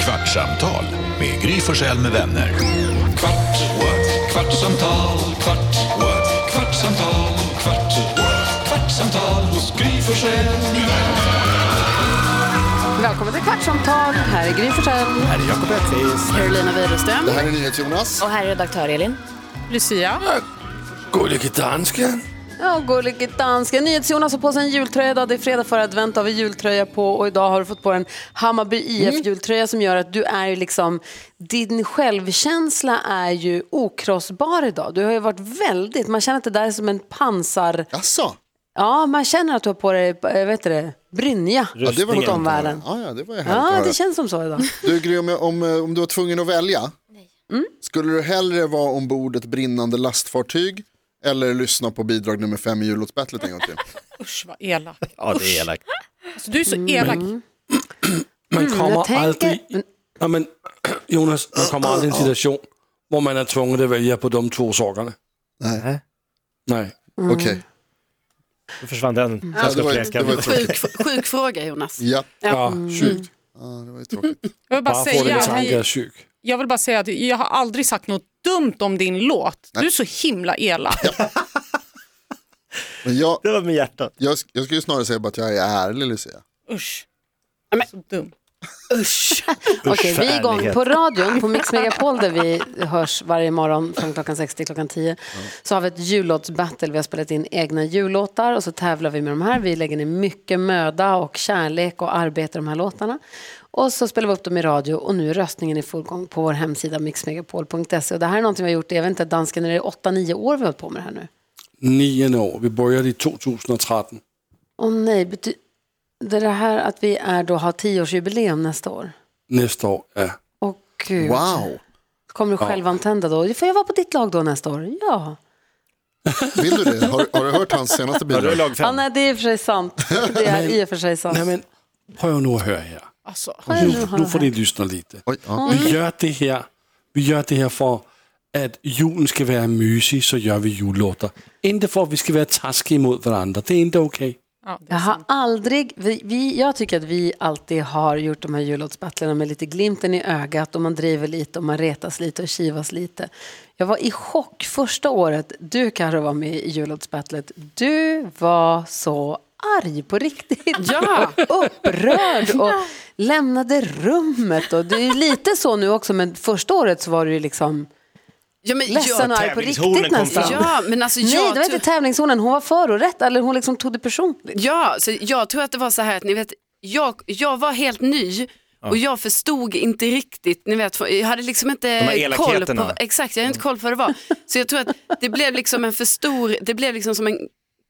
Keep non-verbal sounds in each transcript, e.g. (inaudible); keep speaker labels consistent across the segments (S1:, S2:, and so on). S1: Kvartsamtal med Gry Forssell med vänner. Kvart, what? kvartsamtal, kvart, what? kvartsamtal, kvart, what? kvartsamtal hos Gry Forssell med vänner.
S2: Välkommen till Kvartsamtal. Här är Gry Forssell. Här är Jakob Ekqvist. Carolina Widerström.
S3: Det här är NyhetsJonas.
S4: Och här är redaktör Elin.
S2: Lucia.
S5: Gullige dansken.
S2: Ja, gullige danska. NyhetsJonas har på sig en jultröja idag. Det är fredag för advent har vi jultröja på och idag har du fått på en Hammarby IF-jultröja som gör att du är ju liksom, din självkänsla är ju okrossbar idag. Du har ju varit väldigt, man känner att det där är som en pansar,
S3: Jaså?
S2: ja man känner att du har på dig, eh, vad heter det, brynja
S3: Ja, det var
S2: mot
S3: något annat.
S2: omvärlden.
S3: Ja, ja, det var ju härligt att
S2: Ja,
S3: höra.
S2: det känns som så
S3: (laughs)
S2: idag.
S3: Du Gry, om, om, eh, om du var tvungen att välja, skulle du hellre vara ombord ett brinnande lastfartyg eller lyssna på bidrag nummer fem i jullåtsbattlet en gång till?
S6: Usch vad elak.
S5: Ja, det är elakt.
S6: Alltså, du är så elak.
S5: Man kommer
S2: jag tänker-
S5: aldrig... Ja, men, (clears throat) Jonas, man kommer aldrig i en situation där man är tvungen att välja på de två sakerna.
S3: Nej.
S5: Nej.
S3: Okej,
S7: Då försvann den
S3: ja, det var, ju- det
S7: leken.
S3: var ju tråkigt.
S4: Sjuk, sjuk fråga Jonas.
S3: Ja,
S5: Ja, sjukt.
S3: ja, det var ju tråkigt.
S6: Jag vill, bara
S5: Bara få
S6: säga,
S5: den tanken är
S6: att-
S5: sjuk.
S6: jag vill bara säga att jag har aldrig sagt något dumt om din låt. Du är så himla elak.
S3: Men jag,
S7: Det var med hjärtat.
S3: jag, sk- jag skulle ju snarare säga bara att jag är ärlig Lucia.
S6: Usch. Så dum.
S2: Okej, vi är igång
S7: ärlighet.
S2: på radion på Mix Megapol där vi hörs varje morgon från klockan 6 till klockan 10. Så har vi ett jullåtsbattle. Vi har spelat in egna jullåtar och så tävlar vi med de här. Vi lägger ner mycket möda och kärlek och arbete i de här låtarna. Och så spelar vi upp dem i radio och nu är röstningen i full gång på vår hemsida mixmegapol.se. Och det här är någonting vi har gjort, jag vet inte, dansken, är det 8-9 år vi har hållit på med det här nu?
S5: Nionde år. Vi började i 2013.
S2: Åh nej, bety- det är det här att vi är då har 10-årsjubileum nästa år?
S5: Nästa år, ja.
S2: Åh gud.
S3: Wow!
S2: Kommer du självantända då? Får jag vara på ditt lag då nästa år? Ja.
S3: Vill du det? Har, har du hört hans senaste
S7: Ja, det är
S3: bidrag?
S7: lag
S2: ja
S7: fem.
S2: nej, det är i och för sig sant. (laughs) Det är i och för sig sant.
S5: Nej, men pröv nu att höra här.
S6: Alltså,
S5: Nu, nu får ni lyssna lite.
S3: Oj, ja.
S5: Vi gör det här, vi gör det här för att julen ska vara mysig, så gör vi jullåtar. Inte för att vi ska vara taskiga mot varandra. Det är inte okej.
S6: ja, det
S2: Jag
S6: är
S2: har
S6: sant.
S2: aldrig, vi, vi, jag tycker att vi alltid har gjort de här jullåtsbattlarna med lite glimten i ögat och man driver lite och man retas lite och kivas lite. Jag var i chock första året, du Karo var med i jullåtsbattlet, du var så arg på riktigt. Ja. (laughs) Upprörd (laughs) och lämnade rummet. Och det är ju lite så nu också, men första året så var du ju liksom
S4: Ja, men,
S2: ledsen
S4: jag,
S2: och arg på
S7: Tävlingshornen
S2: riktigt nästan.
S7: konstant.
S4: ja, men alltså,
S2: Nej,
S4: jag,
S2: det var inte
S4: tror,
S2: tävlingshonan. Hon var förorätt, eller hon liksom tog det personligt.
S4: ja, så jag tror att det var så här att ni vet, jag, jag var helt ny och jag förstod inte riktigt, ni vet, för- jag hade liksom
S7: här
S4: inte koll på,
S7: elakheterna.
S4: exakt, jag hade inte koll på vad det var. Så jag tror att det blev liksom en för stor, det blev liksom som en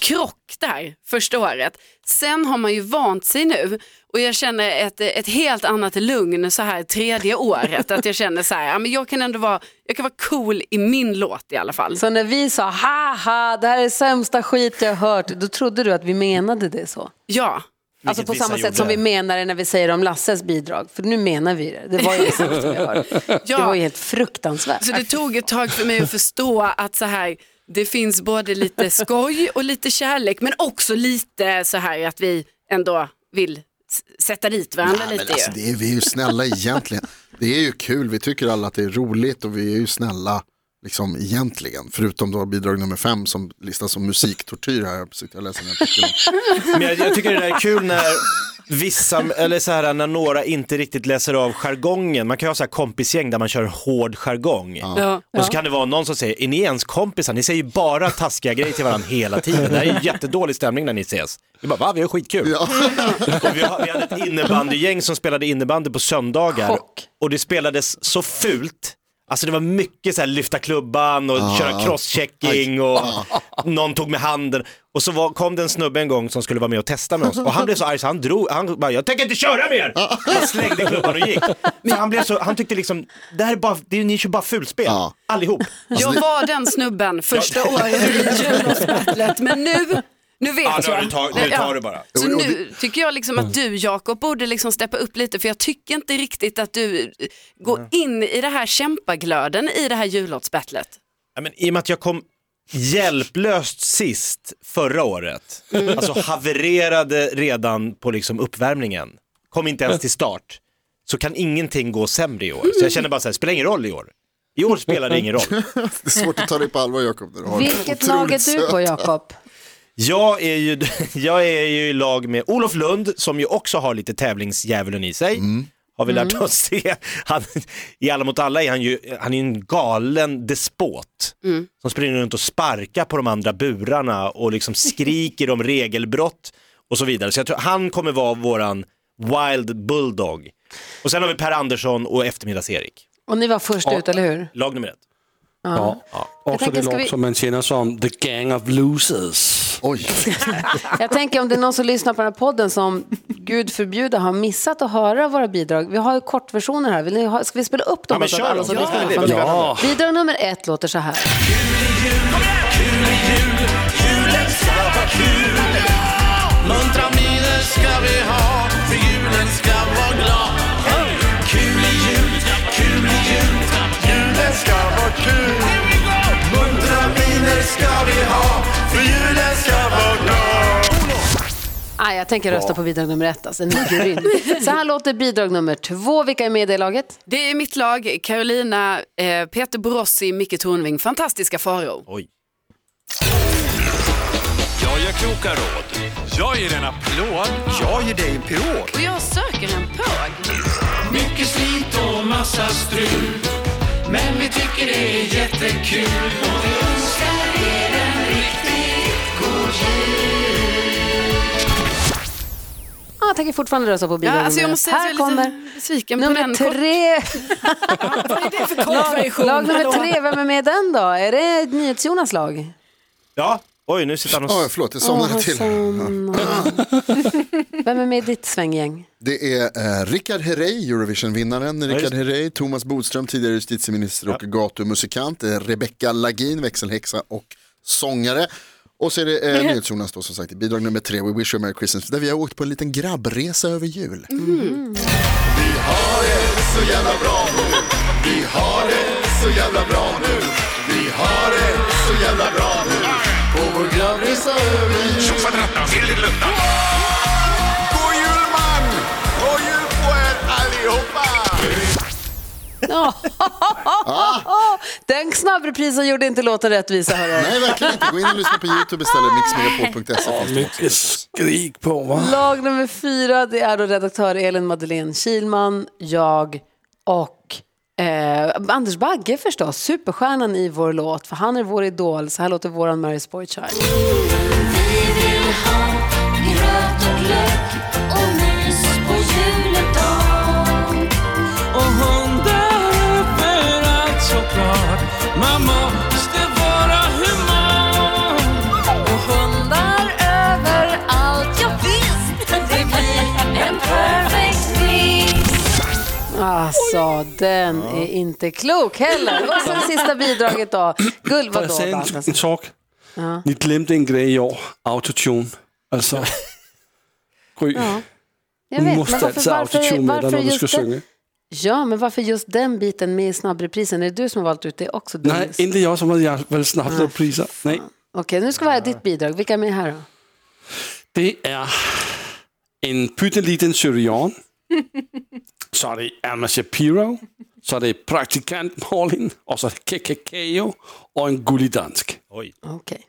S4: krock där första året. Sen har man ju vant sig nu och jag känner ett, ett helt annat lugn så här tredje året. Att jag känner så här, ja, men jag kan ändå vara, jag kan vara cool i min låt i alla fall.
S2: Så när vi sa haha, det här är sämsta skit jag hört, då trodde du att vi menade det så?
S4: Ja.
S2: Alltså på
S7: vissa
S2: samma sätt
S7: gjorde.
S2: som vi menar det när vi säger om Lasses bidrag, för nu menar vi det. Det var ju det sämsta vi hört. Det var ju helt fruktansvärt.
S4: Så det tog ett tag för mig
S3: (laughs)
S4: att förstå att så här, det finns både lite skoj och lite kärlek men också lite så här att vi ändå vill s- sätta dit varandra
S3: Nej, men
S4: lite.
S3: alltså,
S4: ju.
S3: det är, vi är ju snälla egentligen. Det är ju kul, vi tycker alla att det är roligt och vi är ju snälla liksom egentligen. Förutom då bidrag nummer fem som listas som musiktortyr här. Jag sitter och läser den här artikeln.
S7: Men jag, jag tycker det där är kul när vissa, eller så här när några inte riktigt läser av jargongen. Man kan ju ha så här kompisgäng där man kör hård jargong.
S4: Ja.
S7: Och så kan det vara någon som säger, är ni ens kompisar? Ni säger ju bara taskiga grejer till varandra hela tiden. Det här är ju jättedålig stämning när ni ses. Vi bara, va? Vi har skitkul. Och vi, har, vi hade ett innebandygäng som spelade innebandy på söndagar.
S2: Chock.
S7: Och det spelades så fult. Alltså det var mycket så här lyfta klubban och köra crosschecking och någon tog med handen. Och så var, kom det en snubbe en gång som skulle vara med och testa med oss och han blev så arg så han drog, han bara jag tänker inte köra mer! Han slängde klubban och gick. Men han, blev så, han tyckte liksom, det här är bara, det är, ni kör bara fulspel,
S3: Ja.
S7: allihop.
S4: Jag
S3: alltså,
S4: var den snubben första året i Jullåtsbattlet men nu, nu vet
S7: Alltså, Ja, nu har
S4: jag.
S7: du tag- nu
S4: Ja.
S7: tar du bara.
S4: Så
S3: Och- och
S4: nu tycker jag liksom att du Jakob borde liksom steppa upp lite för jag tycker inte riktigt att du eh, går in i det här kämpaglöden i det här jullåtsbattlet.
S7: Ja, men I och med att jag kom hjälplöst sist förra året. Alltså havererade redan på liksom uppvärmningen. Kom inte ens till start. Så kan ingenting gå sämre i år. Så jag känner bara så här, spelar ingen roll i år. I år spelar det ingen roll.
S3: Det är svårt att ta dig på allvar Jakob. när du har en
S2: Vilket
S3: otroligt
S2: lag är du
S3: söt-
S2: på, Jakob?
S7: Jag är, ju, (laughs) jag är ju i lag med Olof Lund som ju också har lite tävlingsdjävulen i sig.
S3: Mm.
S7: Har vi lärt oss (laughs) det. Han, I Alla mot alla är han ju han är en galen despot. Som springer runt och sparkar på de andra burarna och liksom skriker om regelbrott och så vidare. Så jag tror han kommer vara våran wild bulldog. Och sen har vi Per Andersson och eftermiddags-Erik.
S2: Och ni var först ut, eller hur?
S7: Lag nummer ett.
S5: Ja. Också
S2: tänker,
S5: det
S2: ska
S5: lag
S2: vi-
S5: som man känner som The Gang of Losers.
S3: Oj,
S2: Jag tänker om det är någon som lyssnar på den här podden som gud förbjude har missat att höra våra bidrag. Vi har ju kortversioner här. Vill ni ha, ska vi spela upp dem?
S7: Ja, men
S2: så att
S7: kör
S2: alla
S7: dem.
S2: som
S7: Ja,
S2: lyssnar
S7: det
S2: kan
S7: blir
S2: få med?
S5: bra.
S2: Bidrag nummer ett låter så här.
S8: Muntra miner ska vi ha, för julen ska vara glad. Hey! Kul i jul, kul i jul, julen ska vara kul. Muntra miner ska vi ha, för julen ska vara glad.
S2: Ah, jag tänker rösta på bidrag nummer ett. Alltså, den är grym. så här låter bidrag nummer två. Vilka är med i det laget?
S4: Det är mitt lag, Carolina, eh, Peter Borossi, Micke Tornving, fantastiska faror.
S7: Oj.
S8: Jag ger kloka råd. Jag ger en applåd. Jag ger dig en pirog.
S4: Och jag söker en pög.
S8: Mycket slit och massa strul. Men vi tycker det är jättekul. Och vi önskar er en riktigt god
S2: Ah, jag tänker fortfarande rösta på
S4: Ja,
S2: bidrag
S4: alltså jag
S2: nummer
S4: måste
S2: ett.
S4: säga
S2: Här
S4: att jag är
S2: kommer
S4: lite besviken på
S2: nummer
S4: den. Kort-
S2: tre.
S4: Vad är det för kortversion?
S2: Lag nummer tre, vem är med i den då? Är det NyhetsJonas lag?
S7: Ja, oj nu sitter han och...
S3: oh, förlåt jag somnade
S2: Åh,
S3: till.
S2: Sanna. Vem är med i ditt svänggäng?
S3: Det är eh, Rickard Herrey, Eurovision-vinnaren. Rickard Herrey, Thomas Bodström, tidigare justitieminister och gatumusikant. Eh, Rebecca Lagin, växelhäxa och sångare. Och så är det eh, NyhetsJonas då som sagt, i bidrag nummer tre, We Wish You a Merry Christmas, där vi har åkt på en liten grabbresa över jul.
S8: God jul man! God jul på er allihopa!
S2: Den snabbreprisen gjorde inte låten rättvisa. Hörru.
S3: Nej, verkligen inte. Gå in och lyssna på YouTube istället, mixmegapol.se.
S5: Mycket skrik på va?
S2: Lag nummer fyra, det är då redaktör Elin Madeleine Kilman, jag och eh, Anders Bagge förstås, superstjärnan i vår låt, för han är vår idol. Så här låter våran Mary Spoichild.
S9: Vi vill ha gröt och glögg och mys på juldagen.
S8: Och hundar överallt såklart. Man måste vara human.
S9: Och hundar överallt, ja visst. Det blir en perfekt mix.
S2: Alltså, den är inte klok heller. Och så det sista bidraget då. Guld,
S5: Får jag
S2: vadå?
S5: säga en,
S2: Anders?
S5: en sak? Ni glömde en grej i år, autotune. Alltså, Gry,
S2: Jag
S5: hon
S2: vet, men
S5: måste
S2: varför,
S5: alltså
S2: varför,
S5: autotune redan
S2: varför
S5: när du
S2: just
S5: ska
S2: den,
S5: sjunga.
S2: Ja, men varför just den biten med i snabbreprisen? Är det du som har valt ut det också?
S5: Nej,
S2: Dennis?
S5: inte jag som hade jag väl snabbt och priser. Nej,
S2: Okej, nu ska vi ha ditt bidrag. Vilka är med här då?
S5: det är en pytteliten syrian. Så är det Alma Shapiro. Så är det praktikant Malin. Och så är det KKKO och en gullig dansk.
S7: Oj.
S2: Okej.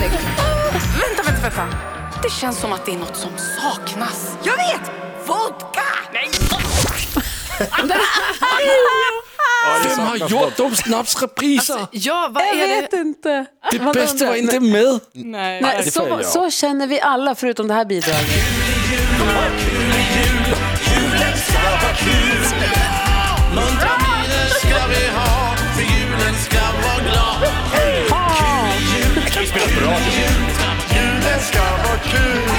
S6: Vänta, vänta, vänta. Det känns som att det är något som saknas.
S8: Jag vet! Vodka! Nej!
S5: Vem har gjort de snabbsrepriser?
S4: Ja, vad är det?
S2: inte.
S5: Det bästa var inte med.
S6: Nej.
S2: Nej,
S5: får
S2: så,
S5: jag.
S2: så känner vi alla förutom det här bidraget.
S8: Muntra miner ska vi ha, för julen ska vara glad. Julen ska vara kul.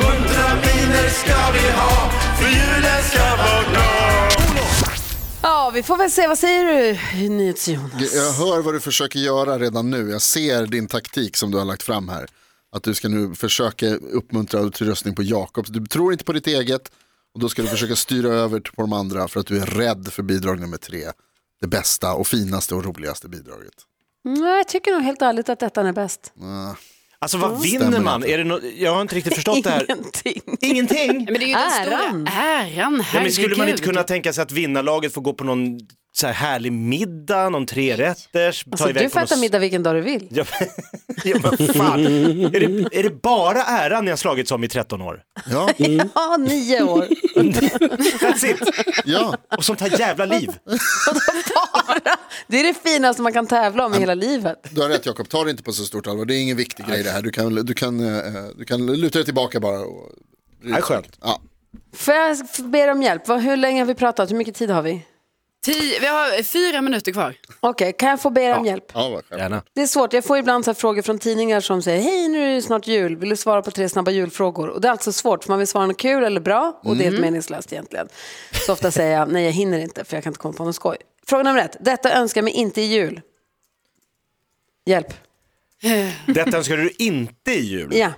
S8: Muntra miner ska vi ha, för julen ska vara glad.
S2: Ja, vi får väl se. Vad säger du, NyhetsJonas?
S3: Jag hör vad du försöker göra redan nu. Jag ser din taktik som du har lagt fram här. Att du ska nu försöka uppmuntra till röstning på Jakobs. Du tror inte på ditt eget och då ska du försöka styra över till- på de andra för att du är rädd för bidrag nummer tre. Det bästa och finaste och roligaste bidraget.
S2: Nej, Mm, jag tycker nog helt ärligt att detta är bäst.
S3: Ah.
S7: Alltså vad vinner
S3: Stämmer
S7: man?
S3: inte.
S7: Är det nå- jag har inte riktigt förstått
S2: (laughs)
S7: det här.
S2: Ingenting.
S7: Ingenting?
S4: Men det är ju den
S2: Äran.
S4: stora äran, herregud.
S7: Ja, men skulle man inte kunna tänka sig att vinnarlaget får gå på någon så här härlig middag, någon trerätters? ta
S2: Alltså,
S7: iväg
S2: du
S7: på
S2: får
S7: någon
S2: äta
S7: s-
S2: middag vilken dag du vill.
S7: (laughs) Ja, men- ja, men fan. Är det, är det bara äran ni har slagits om i 13 år?
S3: Ja,
S2: (laughs) Ja, nio år.
S7: That's it.
S3: ja.
S7: Och sånt här jävla liv.
S2: Det är det finaste man kan tävla om i hela livet.
S3: Du har rätt Jakob, ta det inte på så stort allvar. Det är ingen viktig grej det här. Du kan, du kan, eh, du kan luta dig tillbaka bara. Och...
S7: Det är skönt.
S3: Ja.
S2: Får jag be er om hjälp? Vad- Hur länge har vi pratat? Hur mycket tid har vi?
S4: Tio, vi har fyra minuter kvar.
S2: Okej, kan jag få be er om hjälp?
S3: Ja, vad skönt.
S7: Gärna.
S2: Det är svårt. Jag får ibland så här frågor från tidningar som säger hej nu är det snart jul, vill du svara på tre snabba julfrågor? Och det är alltså svårt för man vill svara något kul eller bra och
S7: Mm.
S2: det är helt meningslöst egentligen. Så ofta säger jag nej jag hinner inte för jag kan inte komma på något skoj. Fråga nummer ett, detta önskar jag mig inte i jul. Hjälp.
S7: Detta önskar du inte i jul.
S2: Ja.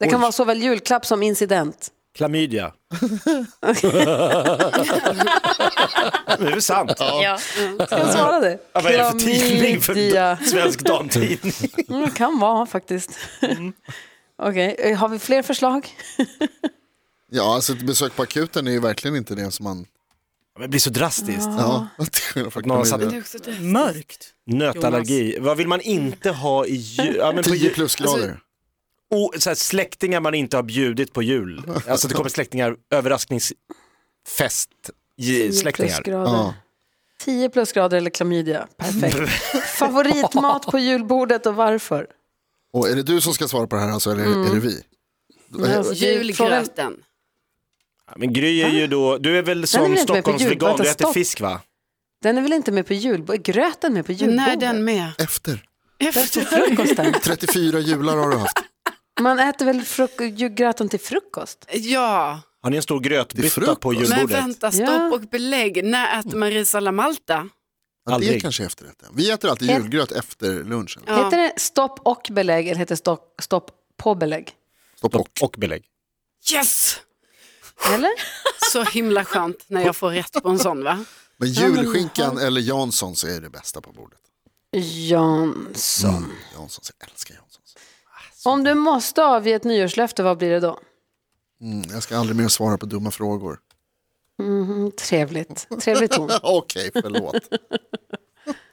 S2: Det kan vara såväl julklapp som incident.
S7: (laughs) Klamydia. det är väl sant?
S4: Ja.
S2: Ska jag svara det?
S7: Ja, vad är det för tidning? För
S2: Klamydia.
S7: svensk damtidning?
S2: Mm, det kan vara faktiskt.
S7: Mm.
S2: Okej, eh, har vi fler förslag?
S3: ja, alltså ett besök på akuten är ju verkligen inte det som man...
S7: Men Det blir så drastiskt.
S3: Ja, (laughs) till skillnad
S7: Någon
S3: från
S7: har satt-
S3: klamydia.
S6: Mörkt.
S7: Nötallergi. Vad vill man inte ha i jul? Ja, men på
S3: 10
S7: jul. alltså,
S3: plusgrader.
S7: Och, så här, släktingar man inte har bjudit
S3: (laughs)
S7: på jul. Alltså det kommer släktingar, överraskningsfest. ge- Släktingar.
S2: Plusgrader. 10 plusgrader eller klamydia. Perfekt. (laughs) Favoritmat på julbordet och varför?
S3: Och är det du som ska svara på det här alltså, eller
S7: Mm.
S3: är det vi?
S2: Alltså, det är frågan-
S4: Julgröten.
S7: Ja, Men Gry är ju då, du är väl
S2: är väl
S7: som
S2: inte med på jul,
S7: Stockholmsvegan,
S2: vänta,
S7: du äter
S2: stopp.
S7: fisk va?
S2: Den är väl inte med på julbordet? Är gröten med på julbordet?
S4: Nej, den med.
S3: Eh, Efter.
S2: Till frukosten.
S3: 34 jular har du haft.
S2: Man äter väl fruk- ju- gröten till frukost?
S4: Ja,
S7: Har ni en stor
S3: Det är
S7: grötbytta
S3: frukost.
S7: på
S4: men
S7: julbordet?
S4: vänta,
S2: Ja.
S4: stopp och belägg. När äter man ris alla malta?
S3: Ja, det är
S7: Aldrig.
S3: kanske efterrätten. Vi äter alltid
S2: Ett-
S3: julgröt efter lunchen.
S4: Ja.
S2: Heter det stopp och belägg eller heter det stopp, stopp på belägg?
S3: Stopp och.
S7: Och belägg.
S4: Yes!
S2: Eller?
S4: Så himla skönt när jag får rätt på en sån va?
S3: Men julskinkan eller Janssons är det bästa på bordet.
S2: Jansson.
S3: Janssons, jag älskar Janssons.
S2: Om du måste avge ett nyårslöfte, vad blir det då?
S3: Mm, jag ska aldrig mer svara på dumma
S7: (laughs)
S3: frågor.
S2: Mm, trevligt. Trevlig ton.
S3: Okej, förlåt.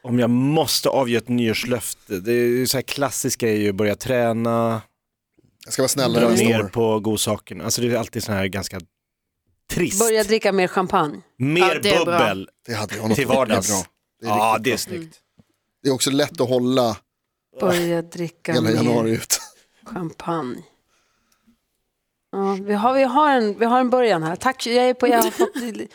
S7: Om jag måste avge ett nyårslöfte, det är ju så här klassiska är ju börja träna,
S3: Jag ska vara snällare
S7: dra
S3: nästa
S7: ner
S3: år.
S7: på godsakerna. Alltså det är alltid sån här ganska trist.
S2: Börja dricka mer champagne.
S7: Mer
S4: Ja, det är bra.
S7: bubbel
S3: Det hade jag nog
S7: till
S3: fått.
S7: vardags.
S3: Det är bra. Det är,
S7: ja,
S3: riktigt
S7: det är
S3: bra.
S2: Mm.
S7: snyggt.
S3: det är också lätt att hålla
S2: Börja dricka
S3: hela januari
S2: mer
S3: ut.
S2: champagne. Ja, vi, har, vi, har en, vi har en början här. Tack, jag, är på, jag har fått i-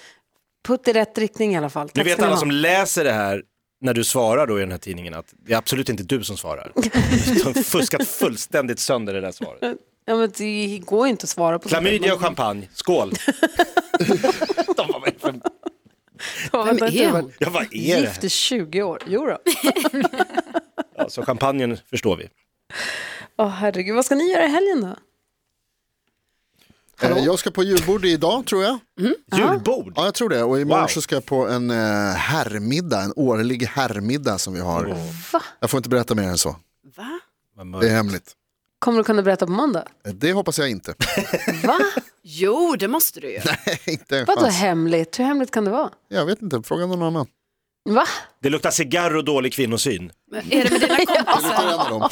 S2: putt i rätt riktning i alla fall.
S7: Nu
S2: Tack
S7: vet
S2: ska ni
S7: alla
S2: ha.
S7: som läser det här, när du svarar då i den här tidningen, att det är absolut inte du som svarar. Du har
S2: (laughs)
S7: fuskat fullständigt sönder det där svaret.
S2: Ja, men det går ju inte att svara på (laughs)
S7: Klamydia och champagne, skål! De bara, vad är det för-
S2: Vem
S4: är hon?
S7: ja, vad är
S2: Gift i
S7: det?
S2: 20 år. Jo då.
S7: Ja, så Alltså, champagnen förstår vi.
S2: Åh, herregud, vad ska ni göra i helgen då?
S3: Eh, Jag ska på julbord idag tror jag.
S7: Julbord!
S3: Ja, jag tror det. Och imorgon
S7: Wow.
S3: så ska jag på en eh, herrmiddag, en årlig herrmiddag som vi har.
S2: Va?
S3: Jag får inte berätta mer än så.
S4: Va?
S3: Det är
S7: Vad mörkt.
S3: hemligt.
S2: Kommer du kunna berätta på måndag?
S3: Eh, Det hoppas jag inte. (laughs)
S2: Va?
S4: Jo, det måste du ju.
S3: inte en
S2: (laughs) Vadå
S3: chans.
S2: hemligt? Hur hemligt kan det vara?
S3: Jag vet inte, fråga någon annan.
S2: Va?
S7: Det luktar cigarr och dålig kvinnosyn.
S4: Men är det med dina
S3: Det luktar
S4: kompisar?
S3: en av dem.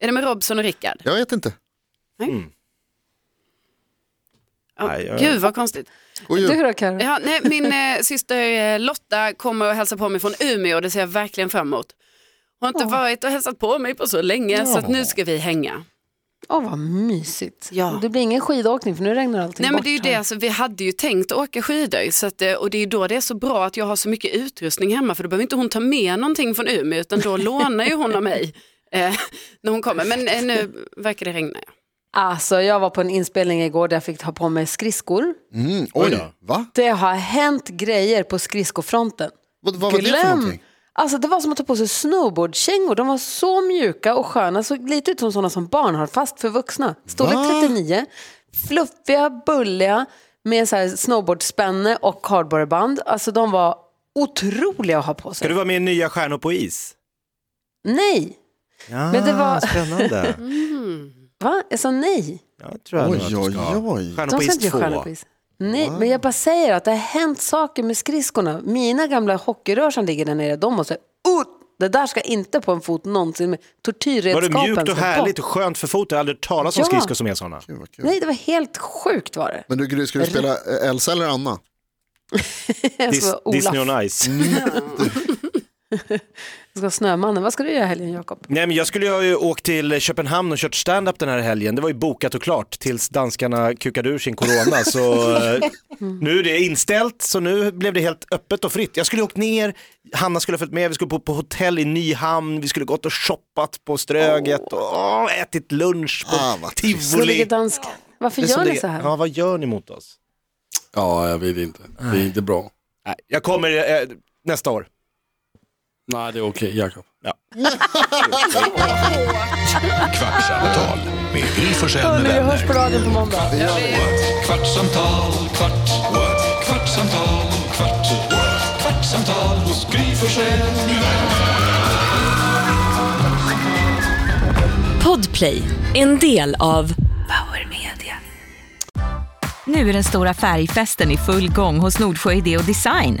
S4: Är det med Robson och Rickard?
S3: Jag vet inte.
S4: Ja,
S7: Nej, jag-
S4: Gud vad konstigt.
S3: God
S2: Du
S3: jul.
S2: då Karo?
S4: Ja, nej, min eh, syster eh, Lotta kommer och hälsar på mig från Umeå och det ser jag verkligen fram emot. Hon har inte varit och hälsat på mig på så länge så att nu ska vi hänga.
S2: Åh, vad mysigt.
S4: Ja.
S2: Det blir ingen skidåkning för nu regnar allting
S4: Nej men
S2: bort
S4: det är ju det,
S2: här.
S4: alltså, vi hade ju tänkt åka skidor så att, eh, och det är då det är så bra att jag har så mycket utrustning hemma för då behöver inte hon ta med någonting från Umeå utan då lånar ju hon av mig eh, när hon kommer. Men eh, nu verkar det regna. Ja.
S2: Alltså, jag var på en inspelning igår där jag fick ha på mig skridskor.
S3: Mm, oj, va?
S2: Det har hänt grejer på skridskofronten.
S3: Vad, vad var det för någonting?
S2: Alltså det var som att ta på sig snowboardkängor. De var så mjuka och sköna, såg lite ut som sådana som barn har fast för vuxna.
S3: Va?
S2: Storlek 39, fluffiga, bulliga med så här snowboardspänne och hardboardband. Alltså de var otroliga att ha på
S7: Ska
S2: sig.
S7: du vara med i Nya Stjärnor på is?
S2: Nej,
S7: Ja,
S2: Men det var- Mm.
S7: Spännande.
S2: va? Jag sa nej.
S7: Ja, det tror jag nog att
S3: Oj,
S7: du
S3: oj,
S7: ska ha.
S3: oj.
S7: Stjärnor
S2: De
S7: på
S2: ska
S7: is
S2: inte
S7: 2.
S2: göra stjärnor på is. Nej, men jag bara säger att det har hänt saker med skridskorna. Mina gamla hockeyrör som ligger där nere, de måste... Uh, det där ska inte på en fot någonsin. med
S7: Var
S2: Tortyrredskapen
S7: det mjukt och
S2: ska
S7: härligt
S2: bort.
S7: och skönt för foten? Jag har aldrig hört talas om
S2: Ja.
S7: skridskor som är sådana.
S3: Gud, vad kul.
S2: Nej, det var helt sjukt var det.
S3: Men du, Gry, ska du spela eh, Elsa eller Anna?
S2: Jag ska
S7: Dis-
S2: vara Olaf.
S7: Disney on Ice.
S2: Jag ska vara Snömannen. Vad ska du göra i helgen, Jakob?
S7: Nej men jag skulle ju ha ju åkt till Köpenhamn och kört stand-up den här helgen. Det var ju bokat och klart tills danskarna kukade ur sin corona. (laughs) Så eh, nu är det inställt så nu blev det helt öppet och fritt. Jag skulle ha åkt ner, Hanna skulle ha följt med, vi skulle bo på hotell i Nyhamn, vi skulle gått och shoppat på Ströget och åh, ätit lunch på
S3: Ah, vad trist.
S2: Så ligger
S7: Tivoli.
S2: dansk. Varför
S7: Det är
S2: gör
S7: som
S2: ni
S7: det-
S2: så här?
S7: Ja vad gör ni mot oss?
S5: Ja, jag vet inte. Det är inte bra.
S7: Nej, jag kommer eh, nästa år.
S5: Nej, det är okej, Jakob.
S1: Kvartsamtal med Gry Forssell med
S2: Hörni, vi
S1: vänner.
S2: hörs på radion på måndag.
S1: What? Kvartsamtal, kvart, what? kvartsamtal, kvart, what? kvartsamtal hos Gry Forssell med vänner.
S10: Podplay, en del av Power Media. Nu är den stora färgfesten i full gång hos Nordsjö Idé och Design.